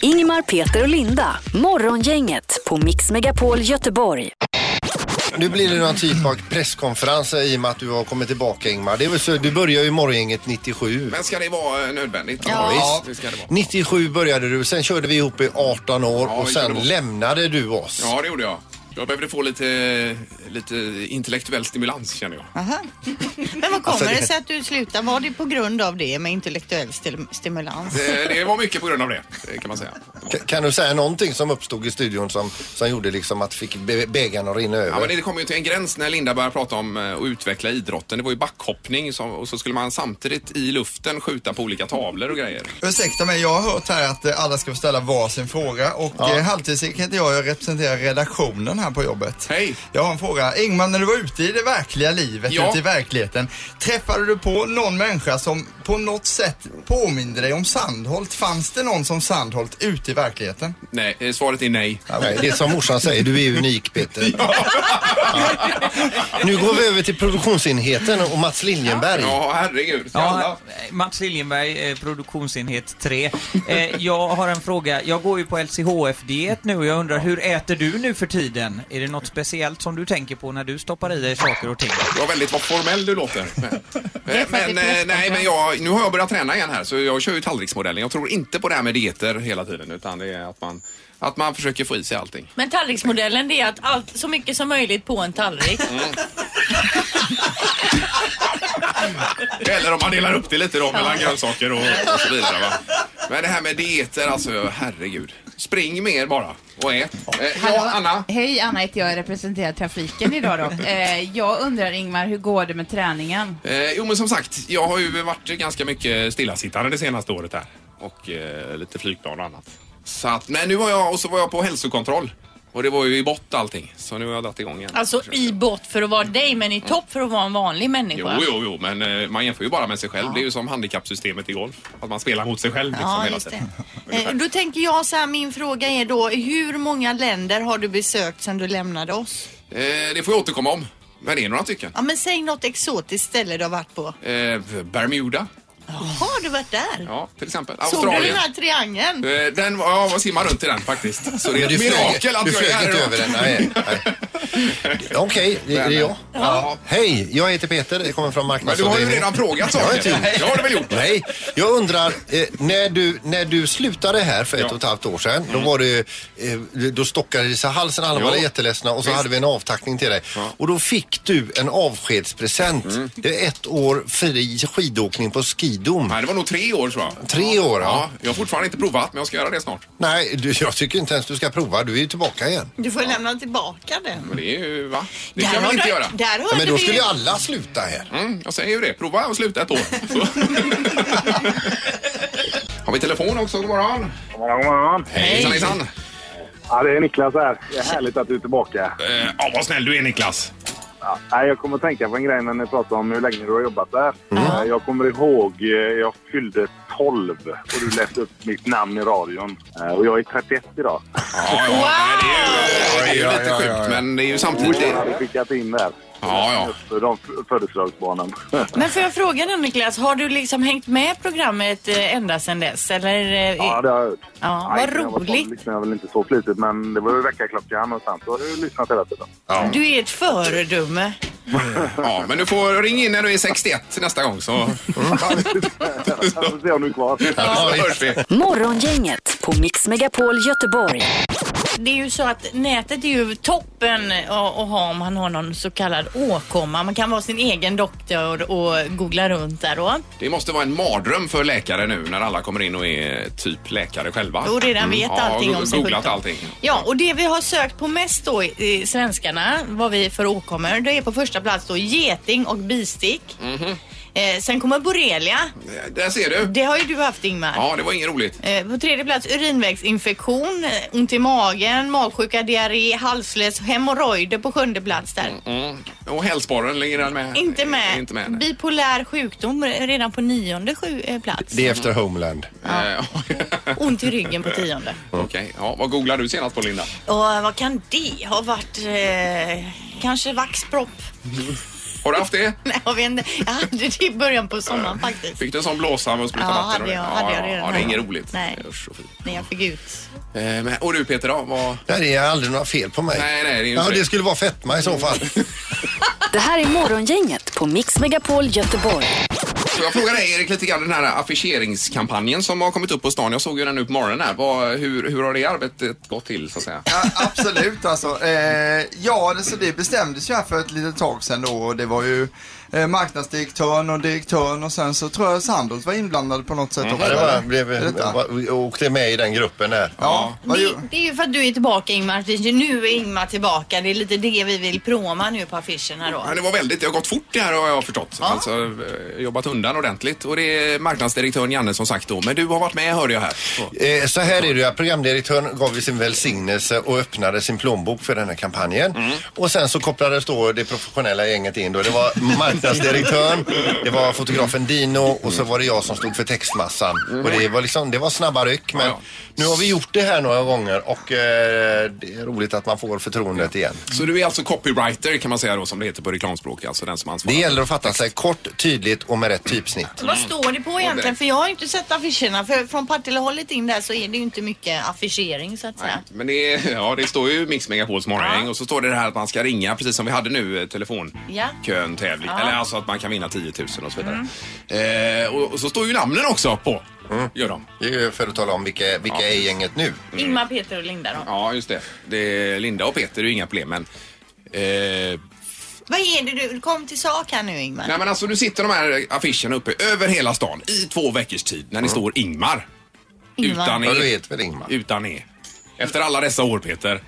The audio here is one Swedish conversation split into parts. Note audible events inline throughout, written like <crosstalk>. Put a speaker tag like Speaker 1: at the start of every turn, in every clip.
Speaker 1: Ingemar, Peter och Linda. Morgongänget på Mix Megapol Göteborg.
Speaker 2: Nu blir det någon typ av presskonferens i och med att du har kommit tillbaka Ingmar. Det är väl så, du börjar ju morgongänget 97.
Speaker 3: Men ska det vara eh, nödvändigt?
Speaker 2: Ja, visst.
Speaker 3: Det ska det vara.
Speaker 2: 97 började du, sen körde vi ihop i 18 år
Speaker 3: Ja,
Speaker 2: och
Speaker 3: vi
Speaker 2: sen
Speaker 3: gjorde det.
Speaker 2: lämnade du oss.
Speaker 3: Ja, det gjorde jag. Jag behövde få lite, lite intellektuell stimulans känner jag.
Speaker 4: Aha. Men vad kommer
Speaker 2: Alltså, det-
Speaker 4: det sig att du slutar? Var det på grund av det med intellektuell stil- stimulans?
Speaker 3: Det, det var mycket på grund av det, eh, kan man säga.
Speaker 2: K- Kan du säga någonting som uppstod i studion som, som gjorde liksom att fick bä- bägaren att rinna
Speaker 3: Ja,
Speaker 2: över?
Speaker 3: men det kom ju till en gräns när Linda började prata om eh, att utveckla idrotten. Det var ju backhoppning som, och så skulle man samtidigt i luften skjuta på olika tavlor och grejer.
Speaker 5: Ursäkta mig, jag har hört här att eh, alla ska få ställa varsin fråga och eh, ja. halvtidscirkeln heter jag, jag representerar redaktionen här på jobbet.
Speaker 3: Hej.
Speaker 5: Jag har en fråga. Ingmar, när du var ute i det verkliga livet,
Speaker 3: Ja.
Speaker 5: ute i verkligheten, träffade du på någon människa som på något sätt påminde dig om Sandholt? Fanns det någon som Sandholt ute i verkligheten?
Speaker 3: Nej, eh, svaret är nej.
Speaker 2: Nej, det är som morsan säger, du är unik Peter. Nu går vi över till produktionsenheten och Mats Liljenberg.
Speaker 3: Ja, herregud. Ska alla-
Speaker 6: Ja, Mats Liljenberg, eh, produktionsenhet 3. Eh, jag har en fråga. Jag går ju på LCHF-diet nu och jag undrar, hur äter du nu för tiden? Är det något speciellt som du tänker på när du stoppar i dig saker och ting?
Speaker 3: Det var väldigt vad formell du
Speaker 4: <laughs>
Speaker 3: låter. Men,
Speaker 4: att det är
Speaker 3: men, eh, nej,
Speaker 4: presskonferens.
Speaker 3: men jag, nu har jag börjat träna igen här så jag kör ju tallriksmodellen. Jag tror inte på det här med dieter hela tiden utan det är att man, att man försöker få i sig allting.
Speaker 7: Men tallriksmodellen det är att allt, så mycket som möjligt på en tallrik.
Speaker 3: Eller om man delar upp det lite då mellan grönsaker och, och så vidare. Va? Men det här med dieter, alltså herregud. Spring mer bara och ät. Eh, Ja, Anna.
Speaker 8: Hej, Anna heter jag. Jag representerar trafiken
Speaker 3: <laughs>
Speaker 8: idag då. Eh, jag undrar Ingmar, hur går det med träningen?
Speaker 3: Eh, jo men som sagt, jag har ju varit ganska mycket stillasittande det senaste året här. Och eh, lite flygplan och annat. Så att, men nu var jag, och så var jag på hälsokontroll. Och det var ju i bott allting. Så nu har jag dragit igång igen.
Speaker 7: Alltså i bott för att vara dig men i topp för att vara en vanlig
Speaker 3: Jo,
Speaker 7: människa.
Speaker 3: jo, jo, men eh, man jämför ju bara med sig själv. Det är ju som handikappsystemet i golf. Att man spelar mot sig själv liksom
Speaker 4: Ja,
Speaker 3: hela
Speaker 4: just det.
Speaker 3: tiden.
Speaker 4: Eh, Då tänker jag så här, min fråga är då hur många länder har du besökt sedan du lämnade oss?
Speaker 3: Eh, det får jag återkomma om. Men det är några stycken.
Speaker 4: Ja men säg något exotiskt ställe du har varit på.
Speaker 3: Eh, Bermuda,
Speaker 4: Har du varit där?
Speaker 3: ja, till exempel.
Speaker 4: Såg du den
Speaker 3: Australien.
Speaker 4: här triangeln?
Speaker 3: Eh, Den, var- ja, man simmar runt i den faktiskt. Så det är
Speaker 2: Men
Speaker 3: ett
Speaker 2: flög-
Speaker 3: mirakel att
Speaker 2: du
Speaker 3: jag är
Speaker 2: flög
Speaker 3: här
Speaker 2: inte
Speaker 3: idag.
Speaker 2: över den. Nej, nej. Okej, det det är jag.
Speaker 3: Ja.
Speaker 2: Hej, jag heter Peter. Jag kommer från
Speaker 3: Men du har ju
Speaker 2: marknadsavdelningen.
Speaker 3: redan frågat
Speaker 2: Jag har
Speaker 3: saker.
Speaker 2: inte gjort
Speaker 3: Det har du väl gjort?
Speaker 2: Nej, jag undrar, eh, när, du, när du slutade här för ett och ett halvt år sedan,
Speaker 3: Mm.
Speaker 2: då var det, eh, då stockade det sig i halsen, alla
Speaker 3: Jo.
Speaker 2: var jätteledsna och så
Speaker 3: Visst.
Speaker 2: hade vi en avtackning till dig. Och då fick du en avskedspresent.
Speaker 3: Mm.
Speaker 2: Det är ett år fri skidåkning på skidom.
Speaker 3: Nej, det var nog tre år tror jag.
Speaker 2: Tre år, ja.
Speaker 3: Ja, jag har fortfarande inte provat, men jag ska göra det snart.
Speaker 2: Nej, du, jag tycker inte ens du ska prova. Du är ju tillbaka igen.
Speaker 4: Du får lämna tillbaka den.
Speaker 3: Men det är ju, va? Det
Speaker 4: Där
Speaker 3: kan man
Speaker 4: har
Speaker 3: inte
Speaker 4: du-
Speaker 3: göra.
Speaker 4: Där
Speaker 2: Ja,
Speaker 4: hörde
Speaker 2: men då
Speaker 4: vi
Speaker 2: skulle ju alla sluta här.
Speaker 3: Mm, jag säger ju det. Prova och sluta ett år.
Speaker 4: <laughs>
Speaker 3: Så. har vi telefon också? God morgon.
Speaker 9: God morgon.
Speaker 3: Hejsan, hejsan.
Speaker 9: Ja, det är Niklas här. Det är härligt att du är tillbaka.
Speaker 3: Eh, Ja, vad snäll du är Niklas.
Speaker 9: Ja, nej, jag kommer att tänka på en grej när ni pratar om hur länge du har jobbat där. Eh, Jag kommer ihåg eh, jag fyllde 12 och du läste upp mitt namn i radion. Eh, Och jag är 31 idag.
Speaker 3: Ja, ja, nej, det är ju, det är ju
Speaker 2: Ja, ja,
Speaker 3: lite
Speaker 2: ja, ja.
Speaker 3: sjukt, men det är ju
Speaker 9: Och
Speaker 3: samtidigt...
Speaker 9: jag
Speaker 3: Det,
Speaker 9: hade skickat in där.
Speaker 3: ja, ja.
Speaker 9: Just för de f- födelsedagsbarnen. <laughs>
Speaker 7: Men får jag fråga dig Niklas, har du liksom hängt med programmet eh, ända sedan dess? Eller? eh,
Speaker 9: Ja, det har jag hört.
Speaker 7: Ja,
Speaker 9: Nej,
Speaker 7: vad
Speaker 9: när jag var tolv
Speaker 7: roligt.
Speaker 9: lyssnade jag väl inte så flitigt, men det var ju väckarklockan och sen så har jag lyssnat hela tiden.
Speaker 4: Du är ett föredöme.
Speaker 3: ja, men du får ringa in när du är 61 nästa gång så,
Speaker 9: Jag får se om du är kvar.
Speaker 3: <laughs> så hörs vi.
Speaker 1: Morgongänget på Mix Megapol Göteborg.
Speaker 7: Det är ju så att nätet är ju toppen att att ha om man har någon så kallad åkomma. Man kan vara sin egen doktor och googla runt där då.
Speaker 3: Det måste vara en mardröm för läkare nu när alla kommer in och är typ läkare själva.
Speaker 4: Och redan vet allting
Speaker 3: Mm. ja,
Speaker 4: om
Speaker 3: sig.
Speaker 4: sin
Speaker 3: googlat
Speaker 4: sjukdom.
Speaker 3: allting.
Speaker 4: Ja,
Speaker 7: Ja, och det vi har sökt på mest då, i i svenskarna, vad vi för åkommor, det är på första plats då geting och bistick.
Speaker 3: Mhm.
Speaker 7: Eh, sen kommer borrelia.
Speaker 3: Där ser du.
Speaker 4: Det har ju du haft Ingmar.
Speaker 3: Ja, det var inget roligt.
Speaker 4: Eh, På tredje plats urinvägsinfektion, eh, ont i magen, magsjuka, diarré, halsfluss, hemorrojder på sjunde plats där.
Speaker 3: Mm. Och hälsporren, ligger den med?
Speaker 4: Inte med.
Speaker 3: Inte med. nej.
Speaker 4: Bipolär sjukdom eh, redan på nionde sju, eh, plats.
Speaker 2: Det är efter Homeland.
Speaker 3: Eh,
Speaker 4: Ont i ryggen på tionde.
Speaker 3: <laughs> Okej, ja, vad googlade du senast på Linda?
Speaker 4: Och vad kan det ha varit? Eh, kanske vaxpropp?
Speaker 3: Har du haft det?
Speaker 4: Nej, jag vet inte. Jag hade det i början på sommaren faktiskt.
Speaker 3: Fick du en sån blåsa och spruta
Speaker 4: Ja,
Speaker 3: vatten?
Speaker 4: hade jag- hade jag redan
Speaker 3: ja, det är
Speaker 4: här.
Speaker 3: inget roligt.
Speaker 4: Nej.
Speaker 3: Usch, och fy.
Speaker 4: När jag fick ut.
Speaker 3: Eh, men, och du Peter då? Vad...
Speaker 2: Nej, det är aldrig några fel på mig.
Speaker 3: Nej, nej, det är ju
Speaker 2: ja,
Speaker 3: inte det.
Speaker 2: det skulle vara fetma i så fall.
Speaker 1: Det här är Morgongänget på Mix Megapol Göteborg.
Speaker 3: Så Jag frågar dig Erik lite grann den här affischeringskampanjen som har kommit upp på stan. Jag såg ju den nu på morgonen här. Vad, hur, hur har det arbetet gått till så att säga?
Speaker 5: Ja, absolut alltså. Eh, ja, det- så det bestämdes ju här för ett litet tag sedan då och det var ju eh, marknadsdirektören och direktören och sen så tror jag Sandholt var inblandad på något sätt också.
Speaker 2: Mm, Ja, det var,
Speaker 5: eller?
Speaker 2: blev,
Speaker 5: Är detta?
Speaker 2: var, åkte med i den gruppen där.
Speaker 5: Ja, vad
Speaker 4: Det,
Speaker 5: ju-
Speaker 4: det är ju för att du är tillbaka Ingmar. Det är ju- Nu är Ingmar tillbaka. Det är lite det vi vill proma nu på affischerna då.
Speaker 3: Ja, det var väldigt, det har gått fort det här har jag förstått. Alltså eh, jobbat undan ordentligt. Och det är marknadsdirektören Janne som sagt då. Men du har varit med hörde jag här. Så.
Speaker 2: Eh, Så här är det ju att programdirektören gav ju sin välsignelse och öppnade sin plånbok för den här kampanjen. Och sen så kopplades då det professionella gänget in då. Det var marknadsdirektören, det var fotografen Dino och så var det jag som stod för textmassan. Och det var liksom, det var snabba ryck men
Speaker 3: Ja,
Speaker 2: nu har vi gjort det här några gånger och eh, det är roligt att man får förtroendet igen.
Speaker 3: Så du är alltså copywriter kan man säga då som det heter på reklamspråk. Alltså den som
Speaker 2: Det
Speaker 3: ansvarar.
Speaker 2: gäller att fatta sig kort, tydligt och med rätt typsnitt.
Speaker 4: Vad står det
Speaker 3: Mm.
Speaker 4: på egentligen? För jag har ju inte sett affischerna. För från Partillehållet in där så är det ju inte mycket affischering så att säga.
Speaker 3: Men det, är- ja, det står ju Mix Megapols morgongäng och så står det det här att man ska ringa precis som vi hade nu eh,
Speaker 4: Ja. Mm.
Speaker 3: telefonkön tävling. Eller alltså att man kan vinna 10 000 och så vidare. Eh, och, och så står ju namnen också på. Gör de.
Speaker 2: Det är ju för att tala om vilka, vilka är i gänget nu.
Speaker 3: Mm.
Speaker 4: Ingmar, Peter och Linda då.
Speaker 3: Ja, just det. det är Linda och Peter det är ju inga problem men eh,
Speaker 4: Vad är det du? Kom till sak här nu Ingmar.
Speaker 3: Nej men alltså nu sitter de här affischerna uppe över hela stan i två veckors tid när
Speaker 4: Mm.
Speaker 3: det står Ingmar.
Speaker 4: Ingmar.
Speaker 3: Utan
Speaker 2: Ja, du
Speaker 3: E.
Speaker 2: vet väl Ingmar?
Speaker 3: Utan E. Efter alla dessa år Peter.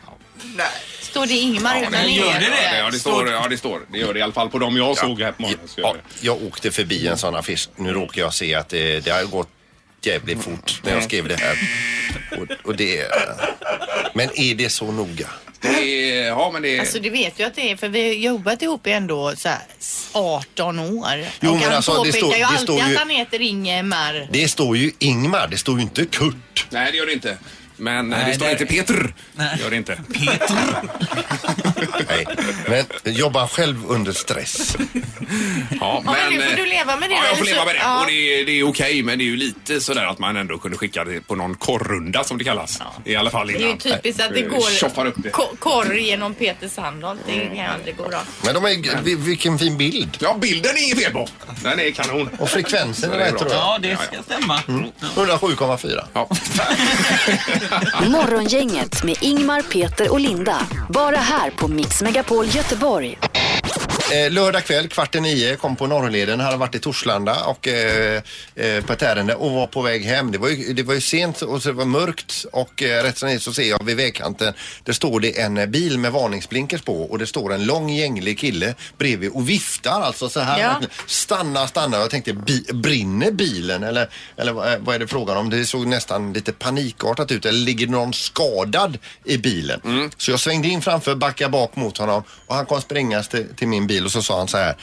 Speaker 4: Står det Ingmar utan
Speaker 3: det-
Speaker 4: er?
Speaker 3: Ja, det står, ja det står. Det gör det i alla fall på dem jag såg här på morgonen. så gör
Speaker 2: Ja,
Speaker 3: det.
Speaker 2: jag åkte förbi en sån affisch. Nu råkar jag se att det, det har gått jävligt
Speaker 3: Mm.
Speaker 2: fort när jag skrev det här. Och, och det... Men är det så noga?
Speaker 3: Det är, ja men det är...
Speaker 4: Alltså du vet ju att det är för vi har jobbat ihop i ändå så här, 18 år.
Speaker 2: Jo,
Speaker 4: och
Speaker 2: men
Speaker 4: han
Speaker 2: alltså, det
Speaker 4: påpekar
Speaker 2: står-
Speaker 4: ju
Speaker 2: det
Speaker 4: alltid
Speaker 2: står ju-
Speaker 4: att han heter Ingemar.
Speaker 2: Det står ju Ingmar, det står ju inte Kurt.
Speaker 3: Nej det gör det inte. Men eh, det
Speaker 6: Nej,
Speaker 3: står
Speaker 6: det-
Speaker 3: inte Peter. Det gör det inte.
Speaker 2: Nej. Men jobbar själv under stress.
Speaker 3: Ja,
Speaker 4: Ja, men nu får
Speaker 3: eh,
Speaker 4: du leva med det,
Speaker 3: Ja, jag får
Speaker 4: eller
Speaker 3: leva
Speaker 4: så-
Speaker 3: med det.
Speaker 4: ja.
Speaker 3: Och det, är- det är okej, men det är ju lite sådär att man ändå kunde skicka det på någon korrunda som det kallas. I alla fall innan.
Speaker 4: Det är ju typiskt att det
Speaker 3: Eh,
Speaker 4: går
Speaker 3: Tjoffar upp det.
Speaker 4: ko- korr genom Peter Sandholt. Det kan ju aldrig gå bra.
Speaker 2: Men de är, vil- vilken fin bild.
Speaker 3: Ja, bilden är inget fel på. Den är kanon.
Speaker 2: Och frekvensen är rätt tror jag.
Speaker 6: Ja, det ska stämma.
Speaker 10: Mm.
Speaker 2: 107,4.
Speaker 3: Ja.
Speaker 1: Morgongänget med Ingmar, Peter och Linda. Bara här på Mix Megapol Göteborg.
Speaker 2: Eh, lördag kväll kvart i nio kom på Norrleden, hade varit i Torslanda och, eh, eh, på ett ärende och var på väg hem. Det var ju, det var ju sent och så det var mörkt och eh, rätt som det är så ser jag vid vägkanten, där står det en eh, bil med varningsblinkers på och det står en lång gänglig kille bredvid och viftar alltså så här.
Speaker 4: Ja.
Speaker 2: Stanna, stanna. Jag tänkte, bi, brinner bilen eller, eller vad, är- vad är det frågan om? Det såg nästan lite panikartat ut. Eller ligger någon skadad i bilen? Så jag svängde in framför, backade bak mot honom och han kom springas till, till min bil och så sa han så här.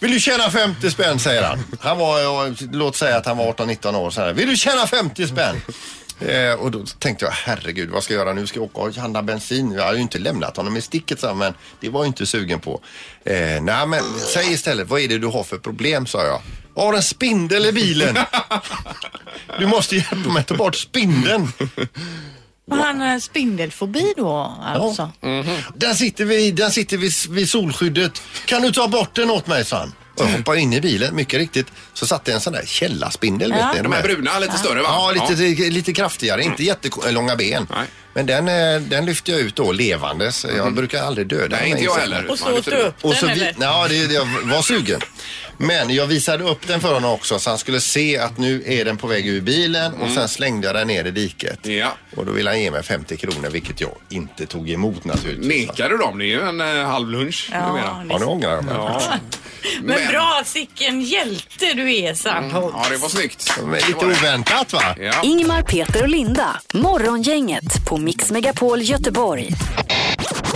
Speaker 2: Vill du tjäna 50 spänn säger han. Han var, eh, låt säga att han var 18-19 år så här. Vill du tjäna 50 spänn? Eh, och då tänkte jag, herregud vad ska jag göra nu? Ska jag åka och handla bensin? Jag hade ju inte lämnat honom i sticket, så, men det var jag inte sugen på. Eh, Nej, men säg istället, vad är det du har för problem? sa jag. Jag har en spindel i bilen. Du måste hjälpa mig att ta bort spindeln.
Speaker 4: Och han har spindelfobi då alltså?
Speaker 2: Den Mhm. sitter, vid, den sitter vid, vid solskyddet. Kan du ta bort den åt mig? sa han. Och jag hoppade in i bilen, mycket riktigt. Så satt det en sån där källarspindel. Vet ni,
Speaker 3: De här bruna, lite större va?
Speaker 2: Ja,
Speaker 4: typ-
Speaker 2: lite, lite kraftigare. Inte jättelånga ben.
Speaker 3: Mm. Nej. Mhm.
Speaker 2: Men den, eh, den lyfte jag ut då levandes. Jag brukar aldrig döda
Speaker 3: Nej,
Speaker 2: dem,
Speaker 3: inte jag
Speaker 2: inser
Speaker 3: heller.
Speaker 7: Och så
Speaker 3: Man
Speaker 7: åt
Speaker 3: lyfter
Speaker 7: du upp
Speaker 2: och så
Speaker 7: den
Speaker 2: vi,
Speaker 7: eller?
Speaker 2: ja, det, det, jag var sugen. Men jag visade upp den för honom också så han skulle se att nu är den på väg ur bilen och sen slängde jag den ner i diket.
Speaker 3: Ja.
Speaker 2: Och då ville han ge mig 50 kronor vilket jag inte tog emot naturligtvis.
Speaker 3: typ- Nekar du dem? Det är ju en eh, halv lunch numera.
Speaker 2: Ja, nu ångrar jag mig.
Speaker 7: Men bra, sicken hjälte du
Speaker 2: Mm,
Speaker 7: är Sandholt.
Speaker 3: Ja, det var snyggt.
Speaker 2: Men
Speaker 3: Det
Speaker 2: Lite
Speaker 3: var det.
Speaker 2: oväntat va?
Speaker 3: Ja.
Speaker 1: Ingmar, Peter och Linda. Morgongänget på Mix Megapol Göteborg.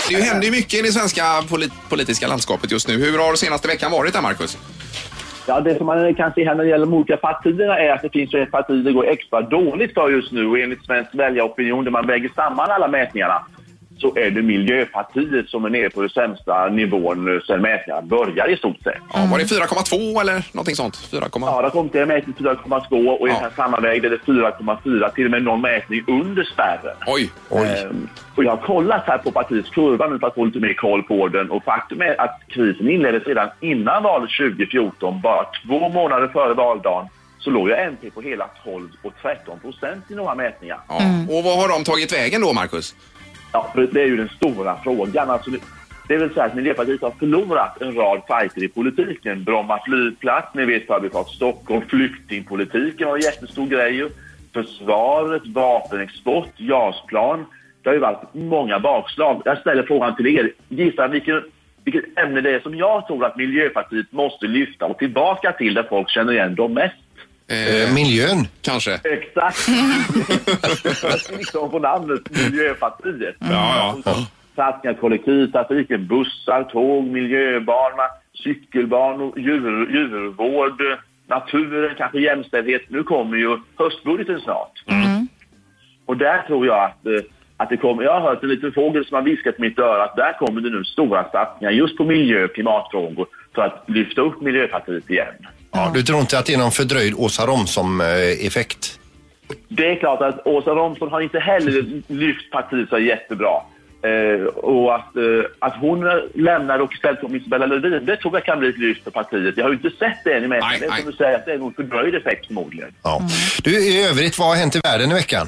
Speaker 3: Det händer ju mycket i det svenska polit politiska landskapet just nu. Hur har senaste veckan varit där, Marcus?
Speaker 11: Ja, det som man kan se här när det gäller de olika partierna är att det finns ju ett parti det går extra dåligt för just nu och enligt svensk väljaropinion där man väger samman alla mätningarna
Speaker 12: så är det Miljöpartiet som är nere på den sämsta nivån eh, sedan mätningen började i stort sett.
Speaker 3: Ja, var det 4,2 eller någonting sånt? 4,
Speaker 12: Mm. Ja, det kom till en mätning 4,2 och i den här samma väg är det 4,4. Till och med någon mätning under spärren.
Speaker 3: Oj!
Speaker 12: Ehm, och jag har kollat här på partiets kurva nu för att få lite mer koll på den. Och faktum är att krisen inleddes redan innan valet 2014. Bara två månader före valdagen så låg ju MP på hela 12 och 13 procent i några mätningar.
Speaker 3: Ja. Och vad har de tagit vägen då, Marcus?
Speaker 12: Ja, för det är ju den stora frågan. Alltså, det vill säga att Miljöpartiet har förlorat en rad fighter i politiken. Bromma flygplats, ni vet Förbifart Stockholm, flyktingpolitiken var en jättestor grej ju. Försvaret, vapenexport, JAS-plan. Det har ju varit många bakslag. Jag ställer frågan till er. Gissa vilken, vilket ämne det är som jag tror att Miljöpartiet måste lyfta och tillbaka till där folk känner igen dem mest.
Speaker 2: Eh, miljön?
Speaker 3: Kanske. <laughs>
Speaker 12: Exakt. liksom på namnet Miljöpartiet.
Speaker 3: Ja, ja.
Speaker 12: Satsningar kollektivtrafiken, bussar, tåg, miljöbanor, cykelbanor, djur, djurvård, naturen, kanske jämställdhet. Nu kommer ju höstbudgeten snart. Och där tror jag att, eh, att det kommer, jag har hört en liten fågel som har viskat i mitt öra att där kommer det nu stora satsningar just på miljö och klimatfrågor för att lyfta upp Miljöpartiet igen.
Speaker 2: Ja, du tror inte att det är någon fördröjd Åsa eh, Romson-effekt?
Speaker 12: Det är klart att Åsa Romson har inte heller lyft partiet så jättebra. Eh, och att, eh, att hon lämnar och istället kommer Isabella Lövin, det tror jag kan bli ett lyft för partiet. Jag har ju inte sett det än, men det är som du säger, att det är nog fördröjd effekt förmodligen.
Speaker 2: Ja. Du, i övrigt, vad har hänt i världen i veckan?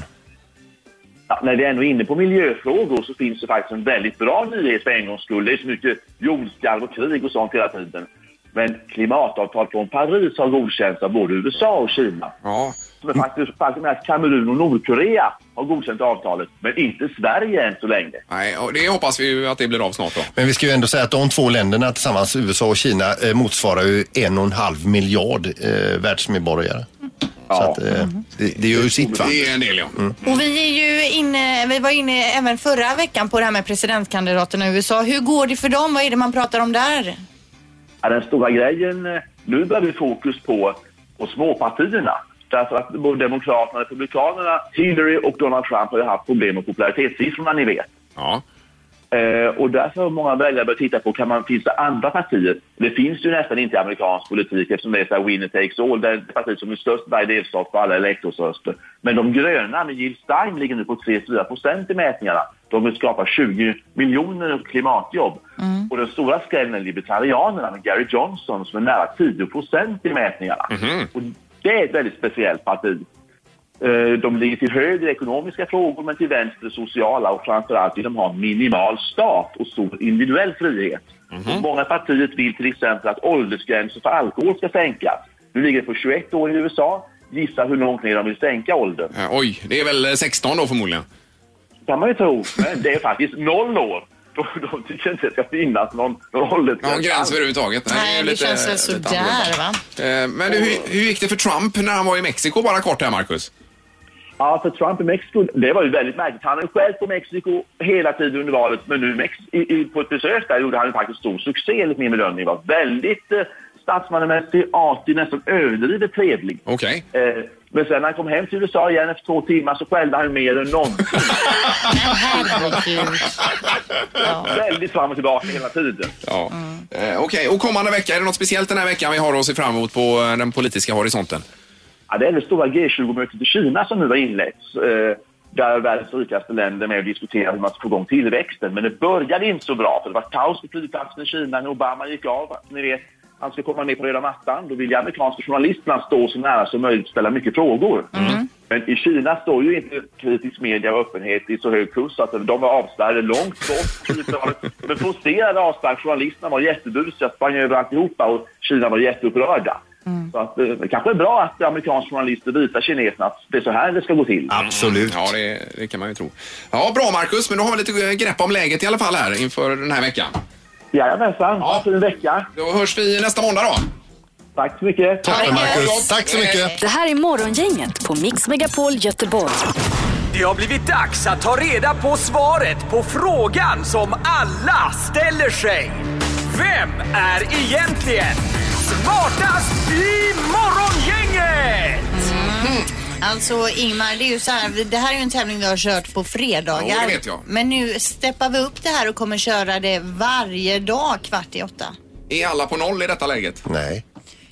Speaker 12: Ja, när vi är ändå är inne på miljöfrågor så finns det faktiskt en väldigt bra nyhet för en gångs skull. Det är så mycket jordskalv och krig och sånt hela tiden. Men klimatavtal från Paris har godkänts av både USA och Kina.
Speaker 3: Ja.
Speaker 12: Men faktiskt, faktum är att Kamerun och Nordkorea har godkänt avtalet, men inte Sverige än så länge.
Speaker 3: Nej, och det hoppas vi ju att det blir av snart då.
Speaker 2: Men vi ska ju ändå säga att de två länderna tillsammans, USA och Kina, eh, motsvarar ju en och en halv miljard eh, världsmedborgare. Så att, eh, det, det gör ju sitt va?
Speaker 3: Det är en del ja.
Speaker 4: Och vi är ju inne, vi var inne även förra veckan på det här med presidentkandidaterna i USA. Hur går det för dem? Vad är det man pratar om där?
Speaker 12: Ja, den stora grejen, eh, nu börjar vi fokus på, på småpartierna. Därför att både Demokraterna och Republikanerna, Hillary och Donald Trump har ju haft problem med popularitetssiffrorna ni vet.
Speaker 3: Ja.
Speaker 12: Eh, och därför har många väljare börjat titta på, kan man, finns det andra partier? Det finns ju nästan inte i amerikansk politik eftersom det är så här winner takes all. Det är det partiet som är störst varje delstat på alla elektorsröster. Men de gröna med Jill Stein ligger nu på 3-4 procent i mätningarna. De vill skapa 20 miljoner klimatjobb. Och den stora skrällen är libertarianerna med Gary Johnson som är nära 10 procent i mätningarna. Och det är ett väldigt speciellt parti. Eh, De ligger till höger i ekonomiska frågor men till vänster i sociala och framförallt vill de ha en minimal stat och stor individuell frihet.
Speaker 3: Mhm.
Speaker 12: Och Många partier vill till exempel att åldersgränsen för alkohol ska sänkas. Nu ligger det på 21 år i USA. Gissa hur långt ner de vill sänka åldern.
Speaker 3: Eh, Oj, det är väl eh, 16 då förmodligen?
Speaker 12: kan man ju tro, men det är faktiskt noll år. <laughs> De, de tycker inte att det ska finnas någon, någon åldersgräns.
Speaker 3: Någon gräns överhuvudtaget?
Speaker 12: Nej,
Speaker 3: är
Speaker 12: det känns väl
Speaker 3: lite
Speaker 12: sådär,
Speaker 3: annorlunda.
Speaker 12: va?
Speaker 3: Eh, Men du, hur, hur gick det för Trump när han var i Mexiko bara kort här, Marcus?
Speaker 12: Ja, för Trump i Mexiko, det var ju väldigt märkligt. Han är själv på Mexiko hela tiden under valet, men nu i Mex- i, i, på ett besök där gjorde han ju faktiskt stor succé enligt min bedömning. Var väldigt eh, statsmannamässig, artig, nästan överdrivet trevlig. <laughs>
Speaker 3: Okej.
Speaker 12: Eh, men sen när han kom hem till USA igen efter två timmar så skällde han ju mer än någonsin. Väldigt fram och tillbaka hela tiden.
Speaker 3: Ja. Eh, Okej, och kommande vecka, är det något speciellt den här veckan vi har att se fram emot på eh, den politiska horisonten?
Speaker 12: Ja, det är det stora G20-mötet i Kina som nu har inletts. Eh, där världens rikaste länder är med och diskuterar hur man ska få igång tillväxten. Men det började inte så bra, för det var kaos på flygplatsen i Kina när Obama gick av. Ni vet, han skulle komma ner på röda mattan. Då ville amerikanska journalisterna stå så nära som möjligt och ställa mycket frågor. Men i Kina står ju inte kritisk media och öppenhet i så hög kurs att de var avspärrade långt bort. Men frustrerade avspärrade journalisterna var jättebusiga, sprang över alltihopa och Kina var jätteupprörda. Så att, eh, det kanske är bra att amerikanska journalister visar kineserna att det är så här det ska gå till.
Speaker 2: Absolut.
Speaker 3: Ja, det, det kan man ju tro. Ja, bra Marcus, men då har vi lite eh, grepp om läget i alla fall här inför den här veckan.
Speaker 12: Jajamensan, ha en fin vecka.
Speaker 3: Då hörs vi nästa måndag då.
Speaker 12: Tack så mycket.
Speaker 2: Tack så mycket.
Speaker 1: Det här är Morgongänget på Mix Megapol Göteborg.
Speaker 10: Det har blivit dags att ta reda på svaret på frågan som alla ställer sig. Vem är egentligen smartast i Morgongänget?
Speaker 4: Alltså Ingmar, det är ju så här, vi- det här är ju en tävling vi har kört på fredagar.
Speaker 3: Ja, det vet jag.
Speaker 4: Men nu steppar vi upp det här och kommer köra det varje dag kvart i åtta.
Speaker 3: Är alla på noll i detta läget?
Speaker 2: Nej,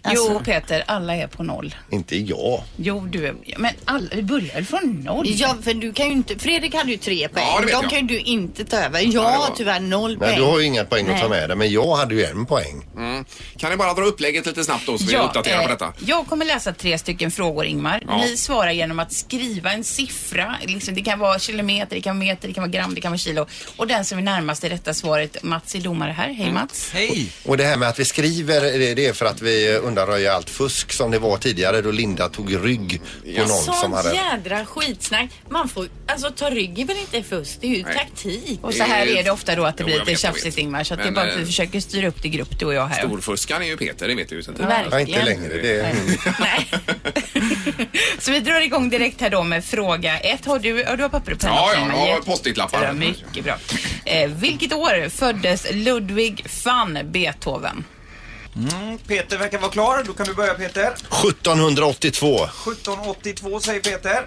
Speaker 4: Alltså.
Speaker 8: Jo Peter, alla är på noll.
Speaker 2: inte jag.
Speaker 8: Jo du, är- men alla, vi börjar från noll.
Speaker 4: Ja, för du kan ju inte, Fredrik hade ju tre poäng.
Speaker 2: det vet
Speaker 4: De
Speaker 2: jag.
Speaker 4: kan ju du inte ta över. Jag har tyvärr noll
Speaker 2: Nej,
Speaker 4: poäng.
Speaker 2: du har ju inga poäng att ta
Speaker 4: Nej.
Speaker 2: med dig, men jag hade ju en poäng.
Speaker 3: Mm. Kan ni bara dra upplägget lite snabbt då så vi uppdaterar
Speaker 8: eh,
Speaker 3: på detta?
Speaker 8: Jag kommer läsa tre stycken frågor Ingmar.
Speaker 3: Ja.
Speaker 8: Ni svarar genom att skriva en siffra. Liksom, det kan vara kilometer, det kan vara meter, det kan vara gram, det kan vara kilo. Och den som är närmast det rätta svaret, Mats är domare här.
Speaker 3: Mm.
Speaker 8: Hej Mats.
Speaker 6: Hej!
Speaker 2: Och det här med att vi skriver, det det är för att vi undanröjer allt fusk som det var tidigare då Linda tog rygg på någon som
Speaker 7: Sånt
Speaker 2: hade...
Speaker 7: Alltså, jädra skitsnack. Man får, alltså ta rygg är väl inte fusk, det är ju taktik.
Speaker 8: Och så här är det ofta då att det
Speaker 3: Jo,
Speaker 8: blir
Speaker 3: jag
Speaker 8: lite
Speaker 3: vet, jag vet.
Speaker 8: tjafsigt Ingmar. Så att
Speaker 3: Men,
Speaker 8: det är bara att vi
Speaker 3: eh,
Speaker 8: försöker styra upp det i grupp du och jag här.
Speaker 3: Storfuskaren är ju Peter, det vet du ju sen
Speaker 8: Verkligen. Ja, inte
Speaker 2: längre, det är-
Speaker 8: <laughs> Så vi drar igång direkt här då med fråga ett. Har du, ja, du har papper och penna
Speaker 3: Ja,
Speaker 8: också,
Speaker 3: ja,
Speaker 8: Ingmar.
Speaker 3: jag har
Speaker 8: Jätte-
Speaker 3: post-it-lappar.
Speaker 8: Ja, mycket bra. Eh, vilket år föddes Ludwig van Beethoven?
Speaker 6: Mm, Peter verkar vara klar. Då kan du börja Peter.
Speaker 2: 1782.
Speaker 6: 1782 säger Peter.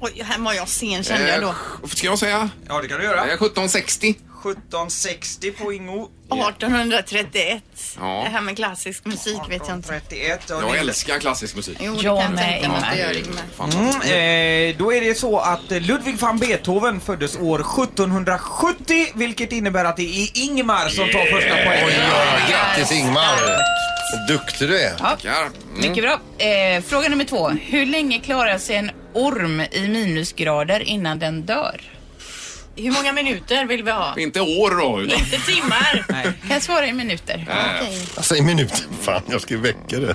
Speaker 4: Oj, här var jag sen
Speaker 6: kände jag
Speaker 3: Eh,
Speaker 6: då.
Speaker 3: Ska jag säga?
Speaker 6: Ja, det kan du göra.
Speaker 3: 1760.
Speaker 6: 1760 på Ingo.
Speaker 4: 1831.
Speaker 3: Ja.
Speaker 4: Det här med klassisk musik vet jag inte.
Speaker 6: 31,
Speaker 3: Jag älskar klassisk musik.
Speaker 4: Jo, det
Speaker 8: Jag
Speaker 4: kan jag
Speaker 8: med,
Speaker 4: tänka mig att det
Speaker 8: Ingmar.
Speaker 4: gör Ingmar.
Speaker 6: Mm, eh, då är det så att eh, Ludwig van Beethoven föddes år 1770 vilket innebär att det är Ingmar som tar första poängen.
Speaker 2: Grattis Ingmar! Vad Duktig du är.
Speaker 3: Tackar. Mm.
Speaker 8: Mycket bra. Eh, fråga nummer två. Hur länge klarar sig en orm i minusgrader innan den dör?
Speaker 7: Hur många minuter vill vi ha?
Speaker 3: Inte år då, utan...
Speaker 7: Inte timmar.
Speaker 8: Kan jag svara i minuter?
Speaker 3: Eh,
Speaker 2: Alltså i minuten, fan jag ska ju väcka det.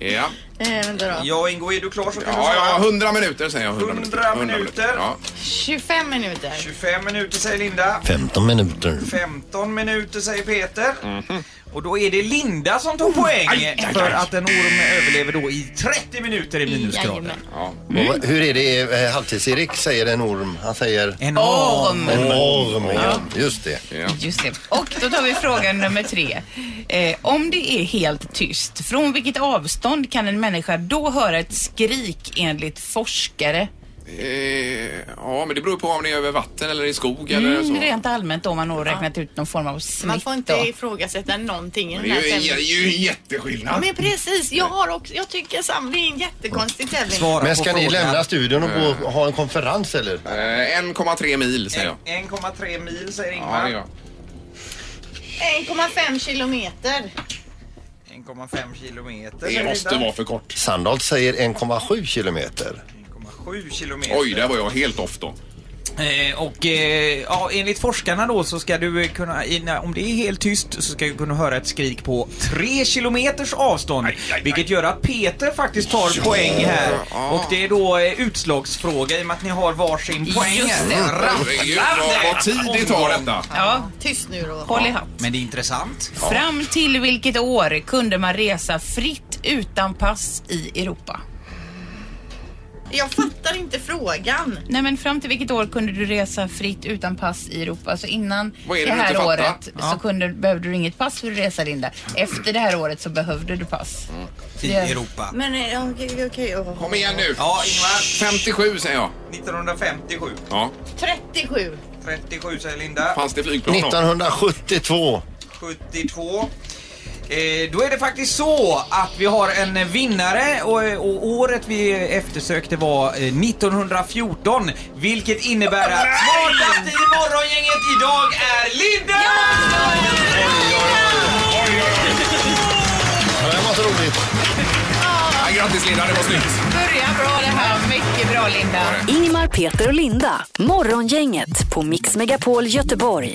Speaker 3: eh, ja.
Speaker 4: Eh, vänta då.
Speaker 6: Ja, Ingo, är du klar så kan
Speaker 3: ja,
Speaker 6: du
Speaker 3: ja,
Speaker 6: svara.
Speaker 3: 100 minuter säger jag. 100, minuter. 100 minuter. Ja.
Speaker 4: 25 minuter.
Speaker 6: 25 minuter säger Linda.
Speaker 2: 15 minuter.
Speaker 6: 15 minuter säger Peter.
Speaker 3: Mhm.
Speaker 6: Och då är det Linda som
Speaker 3: Oh,
Speaker 6: tar poäng för att en orm överlever då i 30 minuter i minusgrader.
Speaker 2: Och vad- Hur är det eh, Halvtids-Erik säger en orm? Han säger...
Speaker 6: En orm.
Speaker 2: En orm, ja. Just det.
Speaker 8: Just det. Och då tar vi fråga nummer tre. Eh, om det är helt tyst, från vilket avstånd kan en människa då höra ett skrik enligt forskare?
Speaker 3: Eh, ja, men det beror på om det är över vatten eller i skog eller så.
Speaker 8: Mm, rent allmänt då om man har räknat ut någon form av
Speaker 7: Man
Speaker 8: snitt.
Speaker 7: får inte
Speaker 8: då.
Speaker 7: ifrågasätta någonting i
Speaker 3: Men
Speaker 7: den
Speaker 3: Det
Speaker 7: här
Speaker 3: är ju,
Speaker 7: tävlingen.
Speaker 3: det är ju en jätteskillnad.
Speaker 7: Ja, men precis. Jag, har också, jag tycker samma. Det är en jättekonstig tävling.
Speaker 2: Men ska ni lämna studion och
Speaker 3: Eh.
Speaker 2: gå, ha en konferens eller?
Speaker 3: Eh, 1,3 mil säger jag.
Speaker 6: 1,3 mil säger
Speaker 3: Ja, det
Speaker 6: Ingmar.
Speaker 3: är jag.
Speaker 4: 1,5 kilometer.
Speaker 6: 1,5 kilometer
Speaker 3: Det
Speaker 6: säger
Speaker 3: måste
Speaker 6: Linda.
Speaker 3: vara för kort.
Speaker 2: Sandholt säger 1,7 kilometer.
Speaker 6: 7 kilometer.
Speaker 3: Oj, där var jag helt off då.
Speaker 6: Eh, och eh, ja, enligt forskarna då så ska du eh, kunna, i- när- om det är helt tyst, så ska du kunna höra ett skrik på 3 kilometers avstånd. Vilket gör att Peter faktiskt tar poäng här. Och det är då eh, utslagsfråga i och med att ni har varsin poäng.
Speaker 8: Just det.
Speaker 6: här.
Speaker 3: Herregud, vad- vad tid det tar detta.
Speaker 8: Ja,
Speaker 4: Tyst nu då.
Speaker 8: håll i hatt.
Speaker 6: Men det är intressant.
Speaker 8: Fram till vilket år kunde man resa fritt utan pass i Europa?
Speaker 4: Jag fattar inte frågan.
Speaker 8: Nej men fram till vilket år kunde du resa fritt utan pass i Europa? Alltså innan
Speaker 3: Vad är
Speaker 8: det,
Speaker 3: det du inte
Speaker 8: här
Speaker 3: fattar?
Speaker 8: året så kunde, behövde du inget pass för att resa Linda. Efter det här året så behövde du pass.
Speaker 6: I Europa.
Speaker 4: Men eh, ja, okej, okej. åh.
Speaker 3: Kom igen nu.
Speaker 6: Ja, Ingmar.
Speaker 3: 57 säger jag.
Speaker 6: 1957.
Speaker 3: Ja,
Speaker 4: 37.
Speaker 6: 37 säger Linda.
Speaker 3: fanns det flygplan då?
Speaker 2: 1972.
Speaker 6: 72. Eh, då är det faktiskt så att vi har en eh, vinnare och, eh, och året vi eh, eftersökte var eh, 1914 vilket innebär att smartast i Morgongänget idag är Linda!
Speaker 2: Ja, det var så roligt.
Speaker 3: Ja, grattis Linda, det var snyggt.
Speaker 8: Börja bra det här. Mycket bra Linda.
Speaker 1: Ingmar, Peter och Linda. Morgongänget på Mix Megapol Göteborg.